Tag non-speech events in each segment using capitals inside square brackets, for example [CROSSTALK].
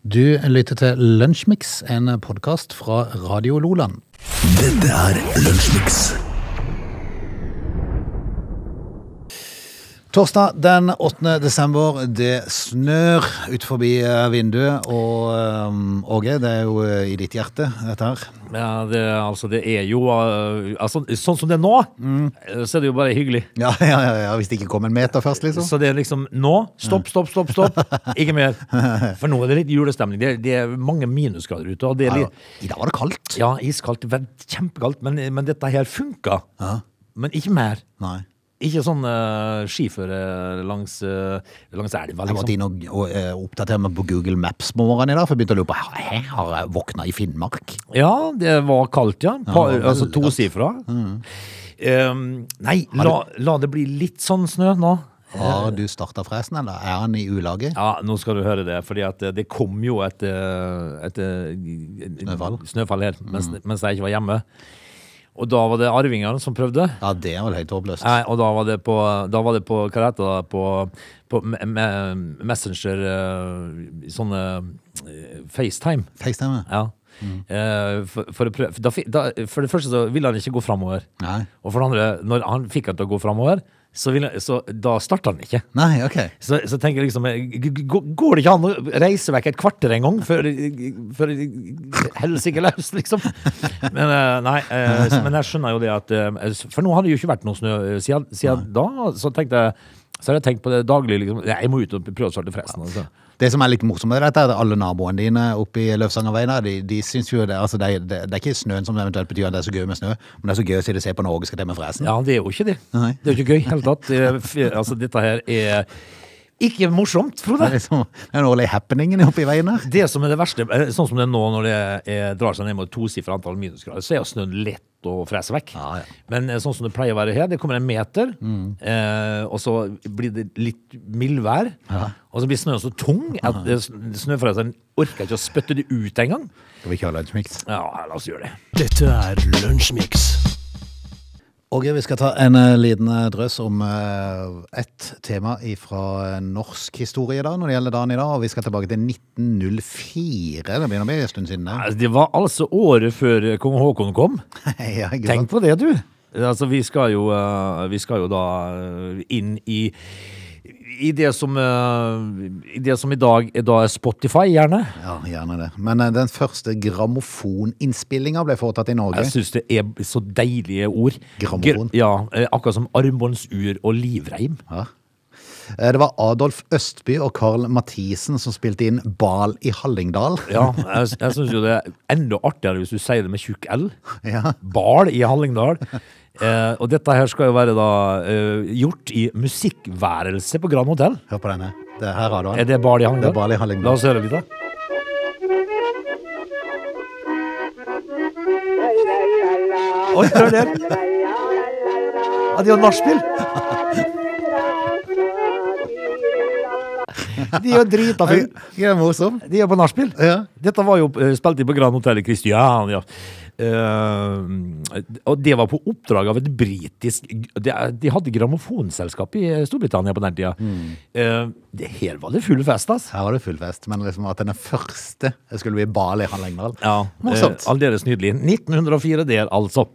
Du lytter til Lunsjmix, en podkast fra Radio Loland. Dette er Lunsjmix. Torsdag den 8. desember, det snør ut forbi eh, vinduet, og eh, Åge, det er jo eh, i ditt hjerte, dette her. [LAUGHS] Ja, det, altså, det er jo eh, altså, Sånn som det er nå, Mm. eh, så er det jo bare hyggelig. Ja, ja, ja, ja, hvis det ikke kom en meter først, liksom. Så det er liksom nå. Mm. Stopp, stopp, stopp. [LAUGHS] stopp Ikke mer. For nå er det litt julestemning. Det er, det er mange minusgrader ute. Og det er Ja, litt, I dag var det kaldt. ja, iskaldt. vel, Kjempekaldt. Men, men dette her funka. Men ikke mer. Nei. Ikke sånn eh, skiføre langs, uh, langs Jeg elva, måtte liksom. inn og, og eh, oppdatere meg på Google Maps på morgenen i dag, for jeg begynte å lure på Hæ, har jeg våkna i Finnmark. Ja, det var kaldt, ja. Pa, Ja, det var altså veldig Mm. tosifra. Eh, nei, la, la det bli litt sånn snø nå. Har du starta fresen, eller er han i ulaget? Ja, nå skal du høre det, fordi at eh, det kom jo et, eh, et, eh, Snøfall. snøfall her mens, mens jeg ikke var hjemme. Og da var det arvingene som prøvde. Ja, det er vel høyt håpløst. Nei, og da var det på, da var det på hva det heter det, på, på me- me- Messenger eh, Sånne eh, FaceTime. Feigstemme? Ja. Eh, For, for, å prøve, for, da, fi- da, for det første så ville han ikke gå framover. Nei. Og for det andre, når han fikk han til å gå framover, så, ville- så da starta han ikke. Nei, ok. Så, så tenker jeg liksom g- g- g- Går det ikke an å reise vekk et kvarter en gang før, eh, før helsike løs, liksom? Men, eh, nei, eh, så- men jeg skjønner jo det at eh, s- For nå har det jo ikke vært noe snø eh, siden, siden da. Så tenkte jeg så har jeg tenkt på det daglig. liksom, «Nei, Jeg må ut og prøve å starte fresen. Altså. Det som er litt morsomt med dette, er at alle naboene dine oppe i Løvsangerveien, der, de, de syns jo det, altså det, er- det, det er ikke snøen som eventuelt betyr at det er så gøy med snø, men det er så gøy å si det ser på Norge skal til med fresen. Ja, det er jo ikke det. Nei. Det er jo ikke gøy i det hele tatt. Eh, f- Altså, dette her er ikke morsomt, Det Frode. er liksom den årlige happeningen oppe i veien her. Det som er det verste, eh, sånn som det er nå når det eh, drar seg ned mot tosifra antall minusgrader, så er jo snøen lett å frese vekk. Ja, ja. Mm. Men eh, sånn som det pleier å være her, det kommer en meter, eh, og så blir det litt mildvær, og så blir snøen så tung at eh, sn- snøfreseren orker ikke å spytte det ut engang. Skal vi ikke ha lunsjmix? Ja, la oss gjøre det. Dette er Lunsjmix. Og vi skal ta en eh, liten eh, drøs om eh, ett tema fra norsk historie da, når det gjelder dagen i dag, og vi skal tilbake til 1904. Det begynner å bli en stund siden det. Altså, Det var altså året før eh, kong Haakon kom. [LAUGHS] Ja, ikke sant? Tenk på det, du. Altså, vi skal jo, eh, vi skal jo da eh, inn i i det, som, eh, I det som i dag er da Spotify, gjerne. Ja, gjerne det. Men eh, den første grammofoninnspillinga ble foretatt i Norge. Jeg syns det er så deilige ord. Grammofon. Gr- Ja, eh, akkurat som armbåndsur og livreim. Ja. Eh, Det var Adolf Østby og Carl Mathisen som spilte inn Bal i Hallingdal. [LAUGHS] Ja, jeg, s- jeg syns jo det er enda artigere hvis du sier det med tjukk L. Ja. Bal i Hallingdal. Eh, og dette her skal jo være da eh, gjort i musikkværelse på Grand Hotell. Hør på denne. Det her har du Er den. det Bal i Det Hallingdal? er Bal i Hallingdal. La oss høre litt, da. Oi, hør der! Ja, de har nachspiel! De er jo drita Oi, fulle. Det er morsom. De er på nachspiel. Ja. Dette var jo eh, spilt inn på Grand Hotel i Kristiania. Eh, og det var på oppdrag av et britisk De, de hadde grammofonselskap i Storbritannia på den tida. Mm. Eh, det her var det full fest, altså. Her var det full fest, men liksom at den første skulle bli Bal i Hallingdal. Ja, Morsomt. eh, Aldeles nydelig. 1904 der, altså.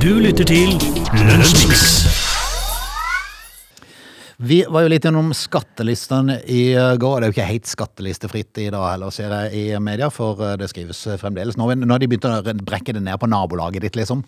Du lytter til Lunsjmix. Vi var jo litt gjennom skattelistene i går. Det er jo ikke helt skattelistefritt i dag heller, ser jeg i media, for eh, det skrives fremdeles. Nå nå har de begynt å brekke det ned på nabolaget ditt, liksom.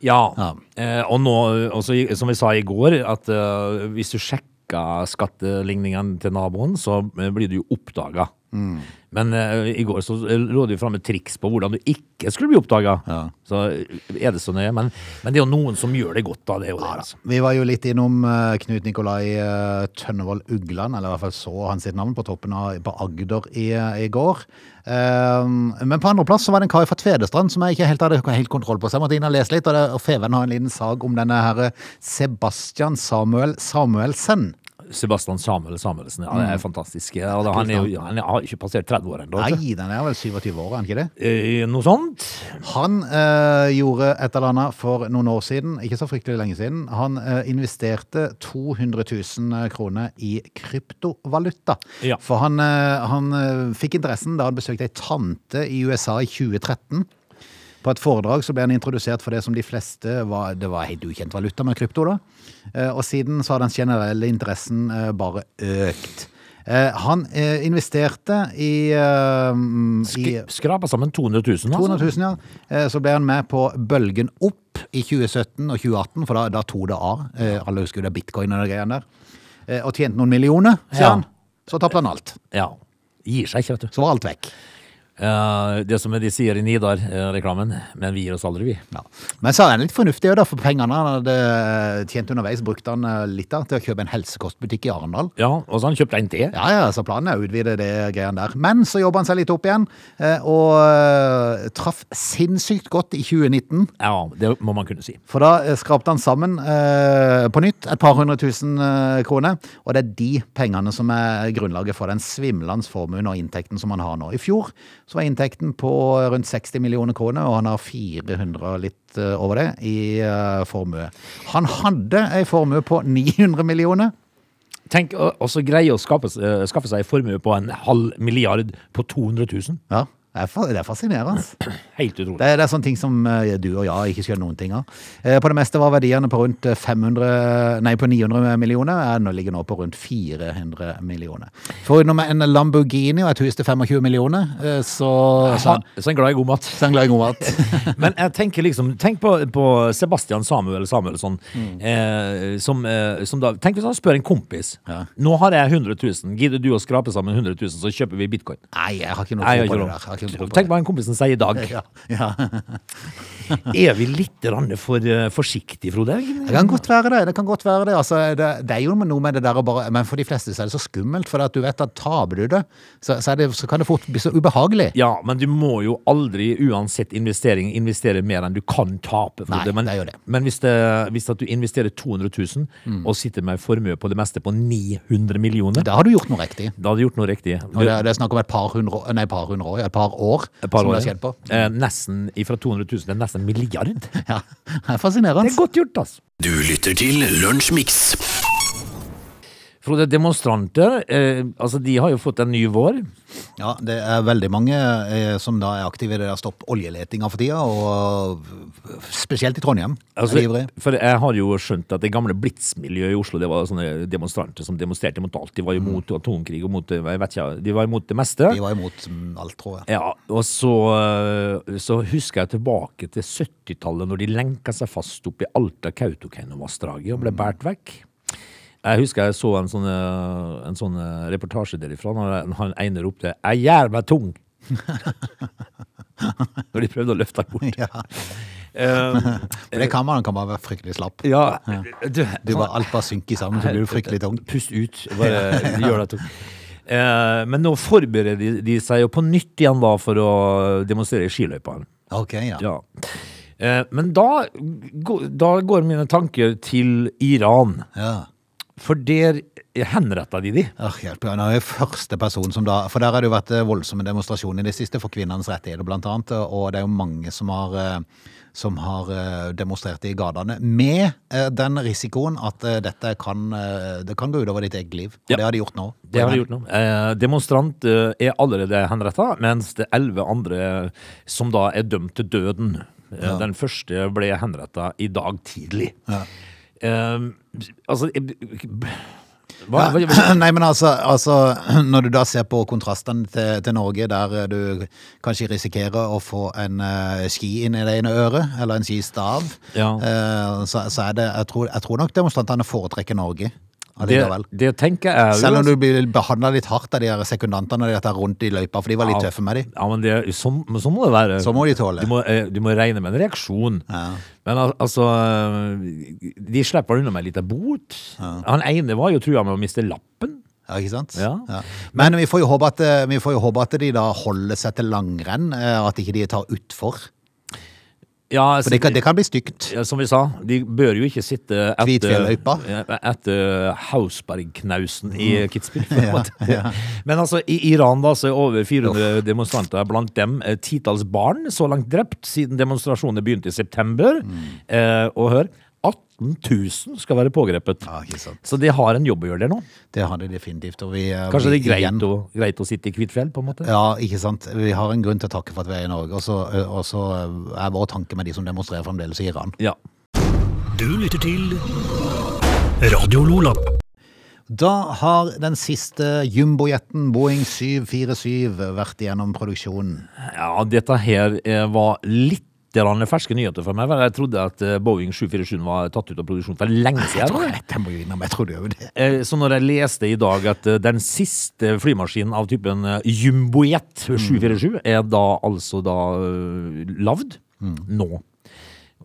Ja. Ja. Eh, og nå, eh, også, i- som vi sa i går, at eh, hvis du sjekker skatteligningene til naboen, så eh, blir du jo oppdaga. Mm. Men eh, i går så eh, lå det jo fram et triks på hvordan du ikke skulle bli oppdaga. Ja. Så eh, er det så nøye. Men, men det er jo noen som gjør det godt, da. Det er jo det, altså. Vi var jo litt innom eh, Knut Nikolai eh, Tønnevold Ugland, eller i hvert fall så han sitt navn på toppen av, på Agder i, eh, i går. Ehm, men på andreplass så var det en kar fra Tvedestrand som jeg ikke helt hadde helt kontroll på. Så jeg måtte inn og lese litt, og, det, og Feven har en liten sag om denne her Sebastian Samuel eh, Samuelsen. Sebastian Samuel Samuelsen. Ja, det er fantastisk. Ja, og da, han, er, jo- han er- har ikke passert 30 år ennå. Mm. Nei, den er vel 27 år, er den ikke det? Eh, Noe sånt. Han eh, gjorde et eller annet for noen år siden, ikke så fryktelig lenge siden. Han eh, investerte 200 000 eh, kroner i kryptovaluta. Ja. For han, eh, han eh, fikk interessen da han besøkte ei tante i USA i 2013. På et foredrag så ble han introdusert for det som de fleste var Det var helt ukjent valuta med krypto, da. Eh, Og siden så har den generelle interessen eh, bare økt. Eh, Han eh, investerte i, eh, i Sk Skrapa sammen 200 000. Altså. 200 000, ja. Eh, Så ble han med på bølgen opp i 2017 og 2018, for da, da tok det av. Eh, Alle husker jo det bitcoin og de greiene der. Eh, Og tjente noen millioner, sier Ja. han. Så tapte han alt. Ja. Gir seg ikke, vet du. Så var alt vekk. Eh, det som de sier i Nidar-reklamen, men vi gir oss aldri, vi. Ja. Men så er han litt fornuftig, jo da, for pengene han hadde eh, tjent underveis, brukte han eh, litt av til å kjøpe en helsekostbutikk i Arendal. Ja, og så har han kjøpt en til. Ja, ja, så planen er å utvide det greiene der. Men så jobba han seg litt opp igjen, eh, og eh, traff sinnssykt godt i 2019. Ja, det må man kunne si. For da eh, skrapte han sammen eh, på nytt et par hundre tusen eh, kroner, og det er de pengene som er grunnlaget for den svimlende formuen og inntekten som han har nå. I fjor så var inntekten på rundt 60 millioner kroner, og han har 400 og litt eh, over det i eh, formue. Han hadde ei formue på 900 millioner. Tenk å også greie å skape, s- eh, skaffe seg formue på en halv milliard på 200 000. Ja, det er fa- det er fascinerende. Helt utrolig. Det er, det er sånne ting som eh, du og jeg ikke skjønner noen ting av. Eh, På det meste var verdiene på rundt 500, nei, på 900 millioner, er nå ligger nå på rundt 400 millioner. For når med en Lamborghini og et hus til 25 millioner, eh, så, så, Ha- Altså, Så er han glad i god mat. [LAUGHS] så er han glad i god mat. Men jeg tenker liksom Tenk på, på Sebastian Samuel Samuelsson. Eh, som, eh, som da, tenk hvis han spør en kompis. Ja. Nå har jeg 100 000. Gidder du å skrape sammen 100 000, så kjøper vi bitcoin? [LAUGHS] Nei, jeg har ikke noe Nei, jeg tro på det gjør ikke der. Jeg har ikke det. noe tro på Tenk hva den kompisen sier i dag. [LAUGHS] det. Ja, ja. Er vi litt grann for eh, forsiktige, Frode? Det kan godt være det. Det kan godt være det. Altså, det, det er jo noe med det der å bare Men for de fleste så er det så skummelt, for at du vet at taper du det, så, så, er det, så kan det fort bli så ubehagelig. Ja, men du må jo aldri, uansett investering, investere mer enn du kan tape. Frode. Nei, men, det er jo det. Mm. Men hvis, det, hvis at du investerer 200 000 og sitter med en formue på det meste på 900 millioner, Da har du gjort noe riktig. da hadde du gjort noe riktig. Og det, det er snakk om et par hundre, år- nei, par hundre år, ja, et par år Et par som år, det har ja. skjedd på. [LAUGHS] Eh, nesten fra 200 000 til nesten en milliard. Det Ja, det er fascinerende. er godt gjort, altså. Du lytter til Lunsjmix. Frode, demonstranter eh, altså de har jo fått en ny vår. Ja, det er veldig mange eh, som da er aktive i det der stopp oljeletinga for tida, og øh, spesielt i Trondheim. Altså, er de ivrige. for jeg har jo skjønt at det gamle blitsmiljøet i Oslo, det var sånne demonstranter som demonstrerte mot alt. De var jo mot atomkrig og mot, eh, jeg vet ikke, de var imot det meste. Mm. de var imot mm, alt, tror jeg. [LAUGHS] Ja, og så, eh, så husker jeg tilbake til 70-tallet, når de lenka seg fast opp i Alta Kautokeinovassdraget Mm. og ble båret vekk. Jeg husker jeg så en sånn, eh, en sånn eh, reportasje derifra, når han ene ropte 'Jeg gjør meg [LAUGHS] tung'! når de prøvde å løfte deg bort. Ja. Eh, Men det kan man, kan bare være fryktelig slapp. ja, du, Du bare, alt bare synker sammen, så blir du fryktelig tung. Pust ut. Bare gjør deg tung. Eh, Men nå forbereder de, de seg jo på nytt igjen da for å demonstrere i skiløypa. Ok, ja. Ja. Eh, Men da, gå- da går mine tanker til Iran. ja. For der henretta de de. Åh, hjelp, ja. Nå er jeg første person som da For der har det jo vært eh, voldsomme demonstrasjoner i det siste for kvinnenes rettigheter, blant annet. Og det er jo mange som har, eh, som har eh, demonstrert i gatene. Med eh, den risikoen at eh, dette kan, eh, det kan gå utover ditt eget liv. Og Ja. det har de gjort nå. Det har de gjort nå. Eh, demonstrant eh, er allerede henretta, mens det er elleve andre som da er dømt til døden. Eh, Den første ble henretta i dag tidlig. Eh, altså eh, hva, hva, hva, [CLEARS THROAT] Nei, men altså, altså Når du da ser på kontrastene til, til Norge, der eh, du kanskje risikerer å få en eh, ski inn i det ene øret, eller en skistav, Ja. eh, så, så er det Jeg tror, jeg tror nok demonstrantene foretrekker Norge. det, allikevel. det tenker jeg jo, Selv om altså. du blir behandla litt hardt av de her sekundantene og de der rundt i løypa, for de var litt tøffe med de. Ja, men det, er- sånn, men sånn må det være. Så må de tåle. Du må, eh, du må regne med en reaksjon. Ja. Men al altså eh, De slipper unna med en liten bot. Han ene var jo trua med å miste lappen. Ja, ikke sant? Ja. Men vi får, jo håpe at, eh, vi får jo håpe at de da holder seg til langrenn, eh, og at ikke de tar utfor. Ja, For det kan, det kan bli stygt. Ja, Som vi sa, de bør jo ikke sitte etter, Kvitfjelløypa. etter Hausbergknausen i Mm. Kitzbühel. på en måte. Men altså, i Iran da, så er over 400 demonstranter, blant dem eh, titalls barn, så langt drept siden demonstrasjonene begynte i september. Mm. Eh, og hør, 18 000 skal være pågrepet. Ja, ikke sant. Så de har en jobb å gjøre der nå. Det har de definitivt. Og vi, eh, Kanskje det er vi- igjen- greit, å, greit å sitte i Kvitfjell, på en måte? Ja, ikke sant. Vi har en grunn til å takke for at vi er i Norge. Og så, eh, og så eh, er vår tanke med de som demonstrerer fremdeles i Iran. Ja. Du lytter til Radio Lola. Da har den siste jumbojeten Boeing 747 vært igjennom produksjonen. Ja, dette her eh, var litt grann ferske nyheter for meg. vel. Jeg trodde at eh, Boeing 747 var tatt ut av produksjon for lenge Jeg siden. tror, [LAUGHS] eller? jeg, jeg må jo innom, jeg trodde jo det. Eh, Så når jeg leste i dag at eh, den siste flymaskinen av typen eh, jumbojet Mm. 747 er da altså da eh, lavd nå.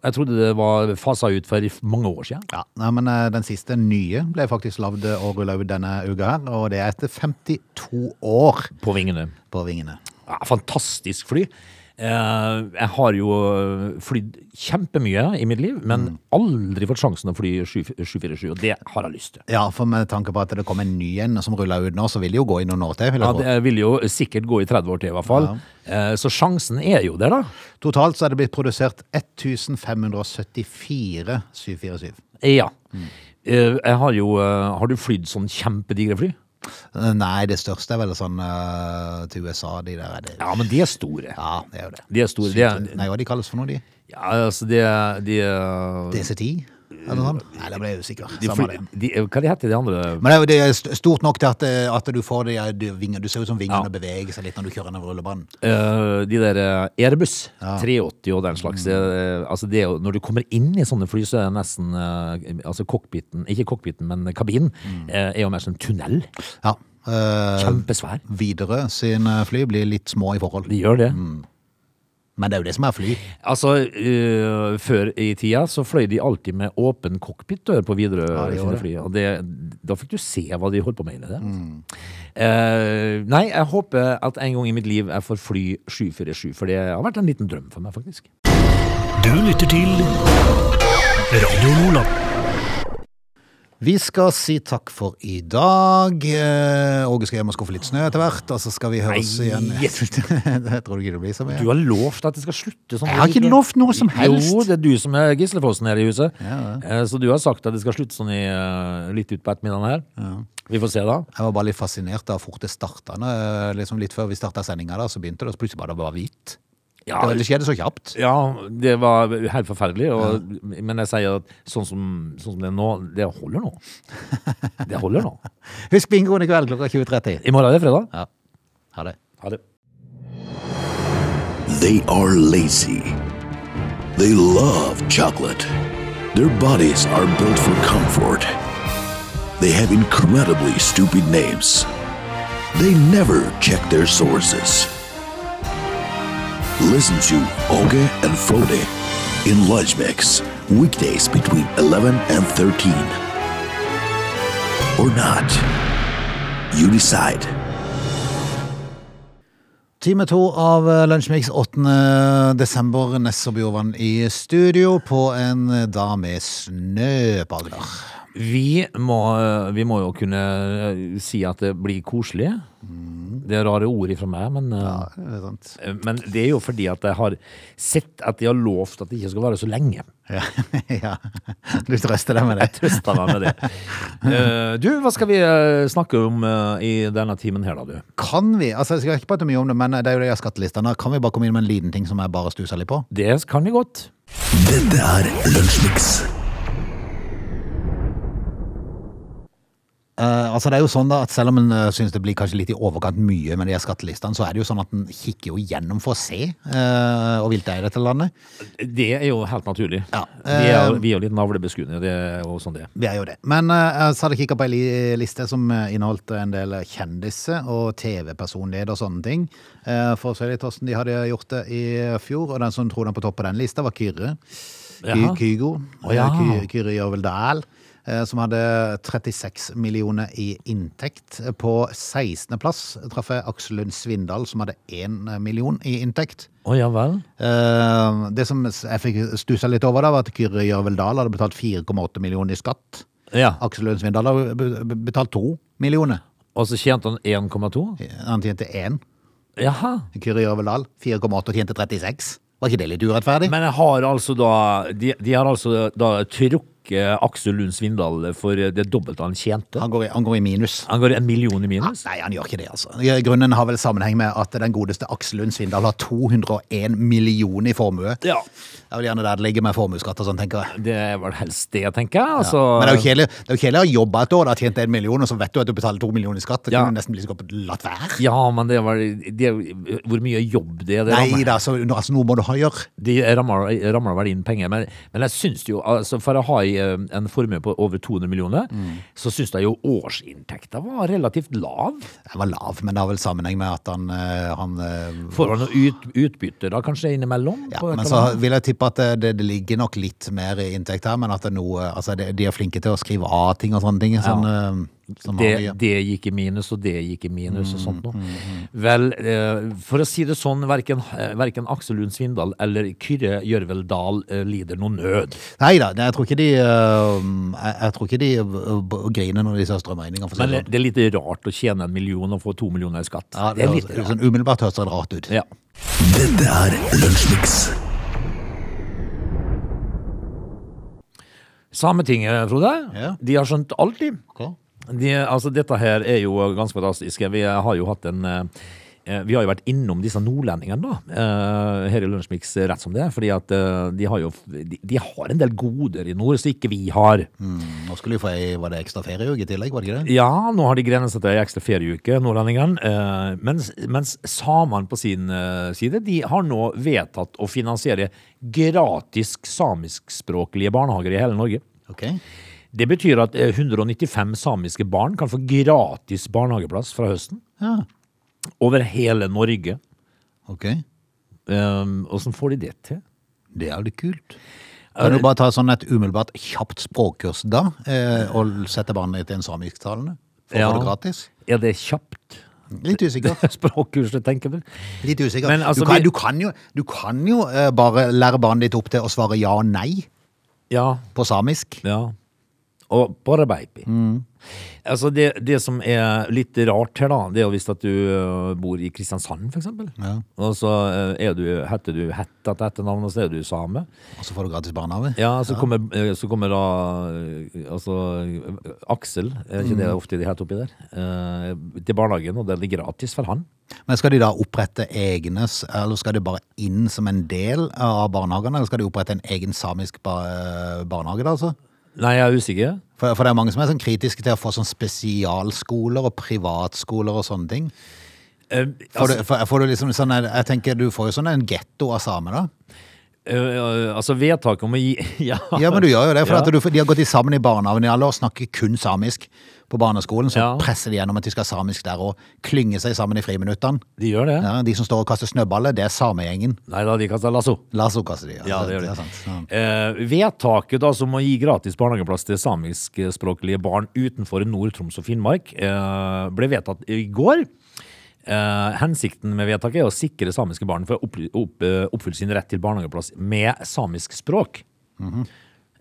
Jeg trodde det var fasa ut for i f- mange år siden. Ja, nei, men eh, Den siste nye ble faktisk lagd og rulla ut denne uka her. Og det er etter 52 år På vingene. på vingene. Ja, fantastisk fly. Eh, Jeg har jo eh, flydd kjempemye i mitt liv, men aldri fått sjansen å fly 7- 747, og det har jeg lyst til. Ja, for med tanke på at det kom en ny en som rulla ut nå, så vil det jo gå i noen år til. Vil Ja, jeg tro. det vil jo sikkert gå i 30 år til, i hvert fall. Eh, Så sjansen er jo der, da. Totalt så er det blitt produsert 1574 747. Ja. Eh, Jeg har jo eh, Har du flydd sånn kjempedigre fly? Eh, Nei, det største er vel sånn eh, til USA, de der er det. Ja, men de er store. Ja, det er jo det. De er store. De er, Syv- Nei, hva de kalles for noe, de? ja, altså, de er, de er DC10? Eller noe sånt? Nei, da ble jeg usikker. de Samme fly, det. de, Hva de heter de andre? Men det er jo- det er st- stort nok til at, eh, at du får de, eh, du, vinger, du ser ut som vingene Ja. beveger seg litt når du kjører ned rullebanen. Eh, de der eh, Airbus 380 og den slags. eh, Altså det, er jo- når du kommer inn i sånne fly, så er det nesten eh, Altså cockpiten Ikke cockpiten, men kabinen Mm. eh, er jo mer som en tunnel. Ja. Eh, Kjempesvær. Widerøe sine fly blir litt små i forhold. De gjør det. Mm. Men det er jo det som er fly. Altså, eh, før i tida så fløy de alltid med åpen cockpitdør på Widerøe. Ja, de gjorde sine det. fly, og det, da fikk du se hva de holdt på med. Det. Mm. Eh, nei, jeg håper at en gang i mitt liv jeg får fly 747, for det har vært en liten drøm for meg, faktisk. Du lytter til Radio Lola. Vi skal si takk for i dag. Eh, Åge skal hjem og skuffe litt snø etter hvert, og så skal vi høre oss Nei, igjen. [LAUGHS] yes. det tror du ikke det blir så mye. Du har lovt at det skal slutte sånn. Jeg har ikke lovt noe som helst. Jo, det er du som er gislefossen her i huset. Ja, Eh, så du har sagt at det skal slutte sånn i, eh, litt ut på ettermiddagen her. Vi får se da. Jeg var bare litt fascinert av hvor fort det starta. når, eh, Liksom litt før vi starta sendinga, så begynte det, og så plutselig bare det var hvitt. Ja, Det, var- det skjedde så kjapt. Ja, det var helt forferdelig. Og, Men jeg sier at sånn som, sånn som det er nå, det holder nå. Det holder nå. Husk bingoen i kveld klokka 20.30. I morgen er det fredag. Ja. Ha det. Ha det. They are lazy. They love chocolate. Their bodies are built for comfort. They have incredibly stupid names. They never check their sources. Listen to Oge and Frode in Lunch Mix, weekdays between 11 and 13. Or not. You decide. Time to av eh, Lunsjmix 8. desember. Ness og Bjorvann i studio på en eh, dag med snø på Agder. Vi må, vi må jo kunne eh, si at det blir koselig. Det er rare ord ifra meg, men, Mm. eh, Ja, det er sant. men det er jo fordi at jeg har sett at de har lovt at det ikke skal vare så lenge. Ja. [LAUGHS] ja. Du trøster deg med det. Trøsta meg med det. [LAUGHS] Eh, Du, hva skal vi eh, snakke om eh, i denne timen her, da, du? Kan vi altså jeg skal ikke prate mye om det, men det er jo det jeg har skattelistene. Kan vi bare komme inn med en liten ting som jeg bare stuser litt på? Det kan vi godt. Dette er Lunsjmix. Eh, altså det er jo sånn da at Selv om en uh, syns det blir kanskje litt i overkant mye med de her skattelistene, så er det jo sånn at en kikker jo gjennom for å se uh, hvor vilt det er i dette landet. Det er jo helt naturlig. Ja. Vi er, jo- vi er jo litt navlebeskuende, det er jo sånn det er. Vi er jo det. Men eh, jeg hadde kikka på ei li- liste som eh, inneholdt en del kjendiser og TV-personligheter og sånne ting. Eh, for å se litt hvordan de hadde gjort det i fjor. Og den som trodde han på topp på den lista, var Kyrre. Ky Jaha. Kygo. Eh, Å, ja. Ky Kyrre Gjørvel Dahl. eh, som hadde 36 millioner i inntekt. På 16. plass traff jeg Aksel Lund Svindal, som hadde 1 million i inntekt. Å ja vel. Eh, Det som jeg fikk stussa litt over, da, var at Kyrre Jørvel Dahl hadde betalt 4,8 millioner i skatt. Ja. Aksel Lund Svindal hadde be- be- betalt 2 millioner. Og så tjente han 1,2? Han tjente 1. Jaha. Kyrre Jørvel Dahl 4,8 og tjente 36. Var ikke det litt urettferdig? Men jeg har altså da De, de har altså da trukket Aksel Lund Svindal for det dobbelte han tjente. Han går, i, han går i minus. Han går en million i minus. Nei, han gjør ikke det, altså. Grunnen har vel sammenheng med at den godeste Aksel Lund Svindal har 201 millioner i formue. Ja. Det er vel gjerne der det ligger med formuesskatt og sånn, tenker jeg. Det er vel helst det, tenker jeg. Altså, Men det er jo kjedelig, det er jo kjedelig å jobbe et år, da tjent en million, og så vet du at du betaler to millioner i skatt. Det Ja. kunne du nesten bli så godt latt være. ja, men det er vel det er, Hvor mye jobb det er? Det Nei rammer- da, så, nå- altså, noe må du ha gjøre. De rammer, rammer vel inn penger, men, men jeg syns jo altså For å ha i, eh, en formue på over 200 millioner, Mm. så syns jeg jo årsinntekta var relativt lav. Den var lav, men det har vel sammenheng med at han, eh, han eh, Får man noe ut, utbytte da, kanskje, innimellom? ja, på et men eller så annet? vil jeg tippe at det, det ligger nok litt mer i inntekt her, men at det er noe, altså det, de er flinke til å skrive av ting og sånne ting. Sånn, eh, som det, vanlig. det gikk i minus, og det gikk i minus, og Mm, sånt noe. Vel, eh, for å si det sånn, verken, eh, verken Aksel Lund Svindal eller Kyrre Gjørvel Dahl eh, lider noe nød. Nei da, jeg tror ikke de, eh, jeg, jeg tror ikke de eh, b- griner når de ser strømregningene. for å si Men det det, sånn. det er litt rart å tjene en million og få to millioner i skatt. Ja, det høres sånn umiddelbart høres det rart ut. Ja. Dette er Lunsjmix. Sametinget, Frode, Ja. de har skjønt alltid. Ok. De, altså, dette her er jo ganske fantastisk. Vi har jo hatt en eh, eh, vi har jo vært innom disse nordlendingene da, eh, her i Lunsjmix eh, rett som det er. fordi at eh, de har jo de, de har en del goder i nord som ikke vi har. Mm, Nå skulle vi få ei var det ekstra ferieuke i tillegg, var det ikke det? Ja, nå har de grenset til ei ekstra ferieuke, nordlendingene. eh, mens, mens samene på sin eh, side de har nå vedtatt å finansiere gratis samiskspråklige barnehager i hele Norge. Ok. Det betyr at eh, 195 samiske barn kan få gratis barnehageplass fra høsten. Ja. Over hele Norge. ok. Um, Åssen får de det til? Det er jo litt kult. Kan du bare ta sånn et umiddelbart kjapt språkkurs da, eh, og sette barnet ditt i en samisktalende? For å Ja. få det gratis? Er det kjapt? Litt usikker. [LAUGHS] Språkkurset, tenker du? Litt usikker. Men altså, du, kan, vi- du kan jo, du kan jo eh, bare lære barnet ditt opp til å svare ja og nei Ja. på samisk. ja. Og bare baby. Mm. Altså det, det som er litt rart her, da, det er jo hvis at du uh, bor i Kristiansand, for eksempel. Ja. Og så uh, er du, heter du Hetta til etternavn, og så er du same. Og så får du gratis barnehage. Ja, så kommer, eh, så kommer da eh, altså, eh, Aksel, er ikke Mm. det ofte de heter oppi der, eh, til barnehagen, og det er gratis for han. Men skal de da opprette egne, s- eller skal de bare inn som en del av barnehagene? Eller skal de opprette en egen samisk ba barnehage, da altså? Nei, jeg er usikker. For, for det er mange som er sånn kritiske til å få sånn spesialskoler og privatskoler og sånne ting. Eh, Får altså, du, får, får du liksom sånn, jeg jeg tenker du får jo sånn en getto av samer da. eh, eh, altså, vedtaket om å gi [LAUGHS] ja. Ja, men du gjør jo det, for Ja. at du, de har gått i sammen i barnehagen i alle år, snakker kun samisk på barneskolen, så Ja. presser de gjennom at de skal ha samisk der og klynge seg sammen i friminuttene. De gjør det? Ja, de som står og kaster snøballer, det er samegjengen. Nei da, de kaster lasso. Lasso kaster de. Ja, det gjør er de. sant, ja. Eh, vedtaket da som å gi gratis barnehageplass til samiskspråklige barn utenfor Nord-Troms og Finnmark eh, ble vedtatt i går. Eh, hensikten med vedtaket er å sikre samiske barn for å opply- opp, eh, oppfylle sin rett til barnehageplass med samisk språk. Mhm.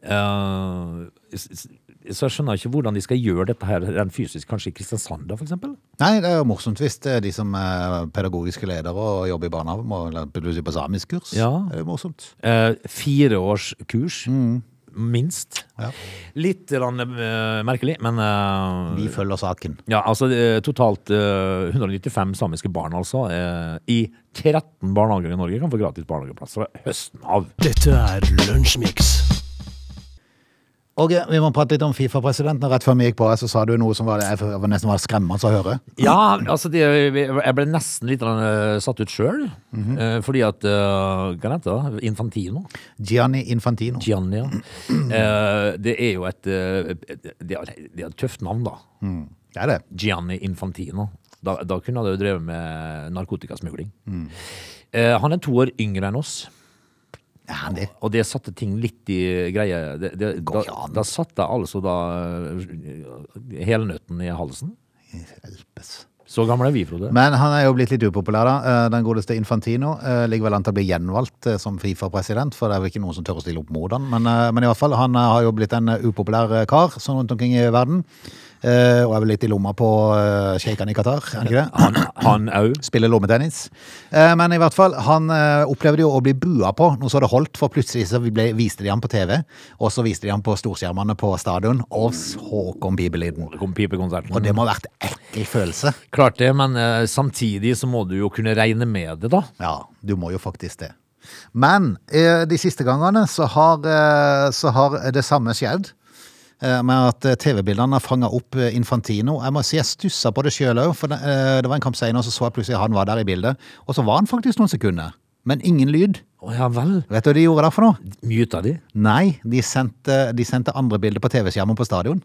Eh, s- s- så jeg skjønner ikke hvordan de skal gjøre dette her rent fysisk, kanskje i Kristiansand da, for eksempel? Nei, det er jo morsomt hvis det er de som er pedagogiske ledere og jobber i barnehagen må lære- plutselig på samisk kurs. Ja. Det er jo morsomt. Eh, fire års kurs, Mm. minst. Ja. Litt grann, eh, merkelig, men eh, Vi følger saken. Ja, altså eh, totalt eh, 195 samiske barn altså, eh, i 13 barnehager i Norge kan få gratis barnehageplass fra høsten av. Dette er Lunsjmix. Og eh, vi må prate litt om Fifa-presidenten. Rett før vi gikk på her, så sa du noe som var, jeg var nesten var skremmende å høre. Ja, altså det, jeg ble nesten litt eh, satt ut sjøl, eh, fordi at eh, Hva heter det? da? Infantino? Gianni Infantino. Gianni, ja. Eh, det er jo et eh, Det er det er et tøft navn, da. Det er det. Gianni Infantino. Da, da kunne han jo Mm. drevet med narkotikasmugling. Eh, han er to år yngre enn oss. Ja, det Og det satte ting litt i greie. Det, det, da, Går ikke an. da satte jeg altså da eh, helnøtten i halsen. hjelpes. Så gamle er vi, Frode. Men han er jo blitt litt upopulær, da. Eh, Den godeste Infantino eh, ligger vel an til å bli gjenvalgt eh, som Fifa-president, for det er vel ikke noen som tør å stille opp mot han. Men, eh, men i hvert fall, han eh, har jo blitt en eh, upopulær eh, kar sånn rundt omkring i verden. Eh, Og er vel litt i lomma på eh, sjeikene i Qatar, er han ikke det? Han- Han òg. Spiller lommetennis. Eh, Men i hvert fall, han eh, opplevde jo å bli bua på noe så det holdt, for plutselig så ble, viste de ham på TV, og så viste de ham på storskjermene på stadion, og så kom bibelyden. Det kom pipekonserten. Og det må ha vært en ekkel følelse. Klart det, men eh, samtidig så må du jo kunne regne med det, da. Ja, du må jo faktisk det. Men eh, de siste gangene så har, eh, så har det samme skjedd. eh, Med at eh, TV-bildene har fanga opp eh, Infantino. Jeg må si jeg stussa på det sjøl òg, for det, eh, det var en kamp senere, og så så jeg plutselig han var der i bildet. Og så var han faktisk noen sekunder. Men ingen lyd. Å ja vel. Vet du hva de gjorde da for noe? Myta de. Nei, de sendte, de sendte andre bilder på TV-skjermen på stadion.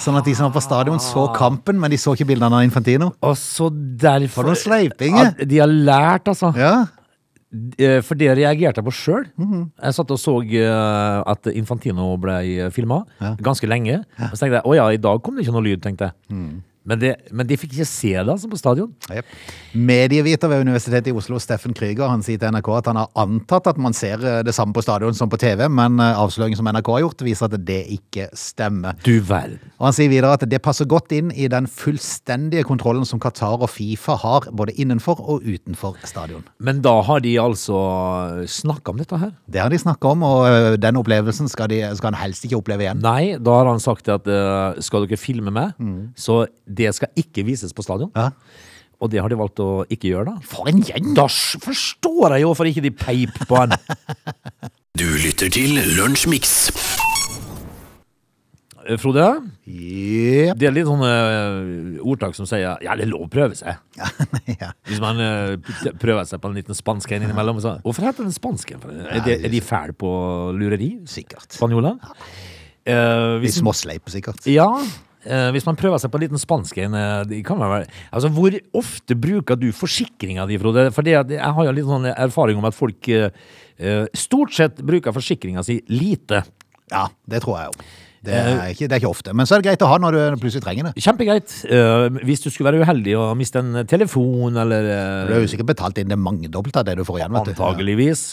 Sånn at de som var på stadion, så kampen, men de så ikke bildene av Infantino. Og så derfor For eh. noen sleipinger. At De har lært, altså. Ja, Eh, For det reagerte jeg på sjøl. Mhm. Jeg satt og så eh, at Infantino ble filma ganske lenge. Og så tenkte jeg å ja, i dag kom det ikke noe lyd, tenkte jeg. Mm. Men, det, men de fikk ikke se det altså på stadion. Jep. Medieviter ved Universitetet i Oslo, Steffen Krüger, han sier til NRK at han har antatt at man ser eh, det samme på stadion som på TV, men eh, avsløringen som NRK har gjort, viser at det ikke stemmer. Du verden. Og Han sier videre at det passer godt inn i den fullstendige kontrollen som Qatar og Fifa har, både innenfor og utenfor stadion. Men da har de altså snakka om dette her. Det har de snakka om, og eh, den opplevelsen skal, de, skal han helst ikke oppleve igjen. Nei, da har han sagt at eh, skal dere filme meg, så det skal ikke vises på stadion. Mm. Ja. Og det har de valgt å ikke gjøre, da. For en gjeng! Da s- forstår jeg jo hvorfor ikke de peip på [LAUGHS] han. Du lytter til Lunsjmix. Eh, Frode, Jep. det er litt sånne eh, ordtak som sier ja, det er lov å prøve seg. [LAUGHS] ja. Hvis man eh, p- prøver seg på en liten spansk en innimellom. Så. Hvorfor heter den spansk? en? Er, de- er de fæle på lureri? Sikkert. Spanjolene? Eh, De hvis, småsleiper sikkert. ja, eh, hvis man prøver seg på en liten spansk en eh, det kan vel være, altså, Hvor ofte bruker du forsikringa di, Frode? For det, at jeg har jo litt sånn erfaring om at folk eh, eh, stort sett bruker forsikringa si lite. Ja, det tror jeg jo. Det er, ikke, det er ikke ofte. Men så er det greit å ha når du plutselig trenger det. Kjempegreit. Eh, hvis du skulle være uheldig og miste en telefon eller Du eh, har jo sikkert betalt inn det mangedobbelt av det du får igjen. vet du. Antageligvis.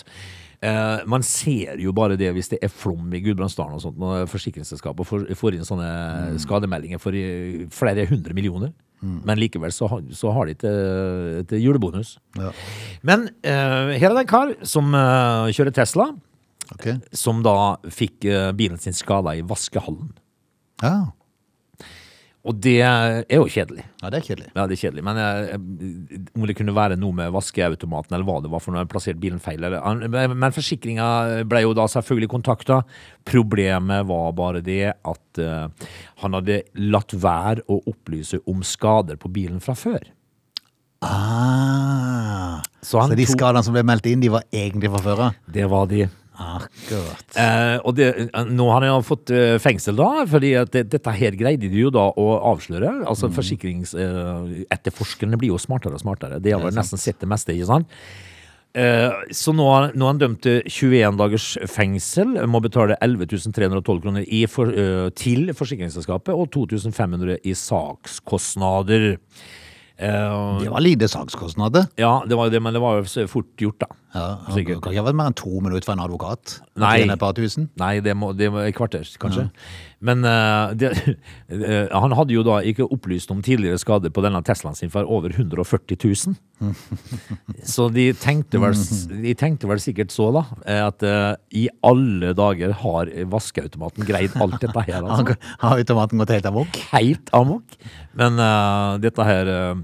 Eh, man ser jo bare det hvis det er flom i Gudbrandsdalen og sånt, når forsikringsselskapet får, får inn sånne skademeldinger for i flere hundre millioner. Men likevel så har, så har de et, eh, et julebonus. Ja. Men eh, her er det en kar som eh, kjører Tesla, Ok. som da fikk eh, bilen sin skada i vaskehallen. Ja. Og det er jo kjedelig. ja, det er kjedelig. Ja, det er kjedelig, men eh, om det kunne være noe med vaskeautomaten, eller hva det var for noe, plassert bilen feil, eller an- Men forsikringa ble jo da selvfølgelig kontakta. Problemet var bare det at eh, han hadde latt være å opplyse om skader på bilen fra før. Ah. Så Så, han de tok- skadene som ble meldt inn, de var egentlig fra før av? Det var de. Akkurat. Eh, og det, eh, nå har han jo fått eh, fengsel, da, fordi at det, dette her greide de jo da å avsløre. Altså Forsikringsetterforskerne blir jo smartere og smartere. De har vel nesten sett det meste, ikke sant? Eh, Så nå har, nå har han dømt til 21 dagers fengsel, må betale 11 312 kroner i for, eh, til forsikringsselskapet og 2500 i sakskostnader. Eh, Det var lite sakskostnader. ja, det var jo det, men det var jo så fort gjort, da. Ja, det Sikkert. kan ikke ha vært mer enn to minutter for en advokat. Å Nei. tjene Et par tusen. [LAUGHS] Nei, det må, det må et kvarter, kanskje. Men eh, det, [LAUGHS] eh, han hadde jo da ikke opplyst om tidligere skader på denne Teslaen sin for over 140 [LAUGHS] 000. så de tenkte, vel, s- de tenkte vel sikkert så, da, eh, at eh, i alle dager har vaskeautomaten greid alt dette her. [LAUGHS] Har Altså. har automaten gått helt amok? Helt amok. Men eh, dette her eh,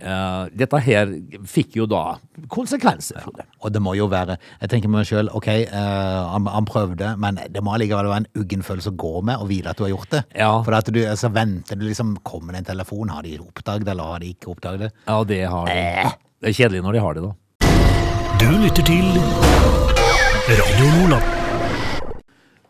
eh, Dette her fikk jo da konsekvenser. Frode. Og det må jo være Jeg tenker med meg sjøl, OK, eh, han, han prøvde, men det må allikevel være en uggen følelse å gå med og vite at du har gjort det. Ja. For at du, eh, så venter du liksom Kommer det en telefon? Har de oppdaget det, eller har de ikke oppdaget det? Ja, det har de. Eh, Det er kjedelig når de har det, da. Du lytter til Radio Nordland.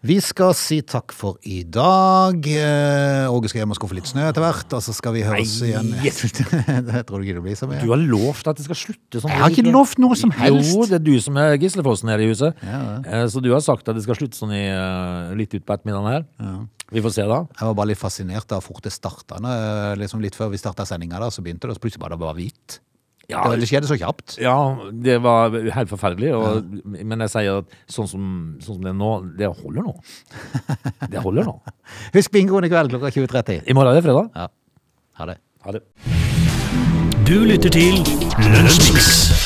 Vi skal si takk for i dag. Eh, Åge skal hjem og skuffe litt snø etter hvert, og så skal vi høres Nei, igjen. [LAUGHS] yes. det tror du ikke det blir så mye. Du har lovt at det skal slutte sånn. Jeg har ikke lovt noe som helst. Jo, det er du som er gislefossen her i huset. Ja, ja. Eh, Så du har sagt at det skal slutte sånn i, eh, litt ut på ettermiddagen her. Vi får se da. Jeg var bare litt fascinert av hvor fort det starta. Når, eh, Liksom litt før vi starta sendinga, så begynte det, og så plutselig var det bare hvitt. Ja, Det, det skjedde så kjapt. ja, det var helt forferdelig. Og, Men jeg sier at sånn som, sånn som det er nå, det [LAUGHS] holder nå. Det holder nå. Husk bingoen i kveld klokka 20.30. I morgen er det fredag. Ja. Ha det. Ha det. Du lytter til Lunsjmix.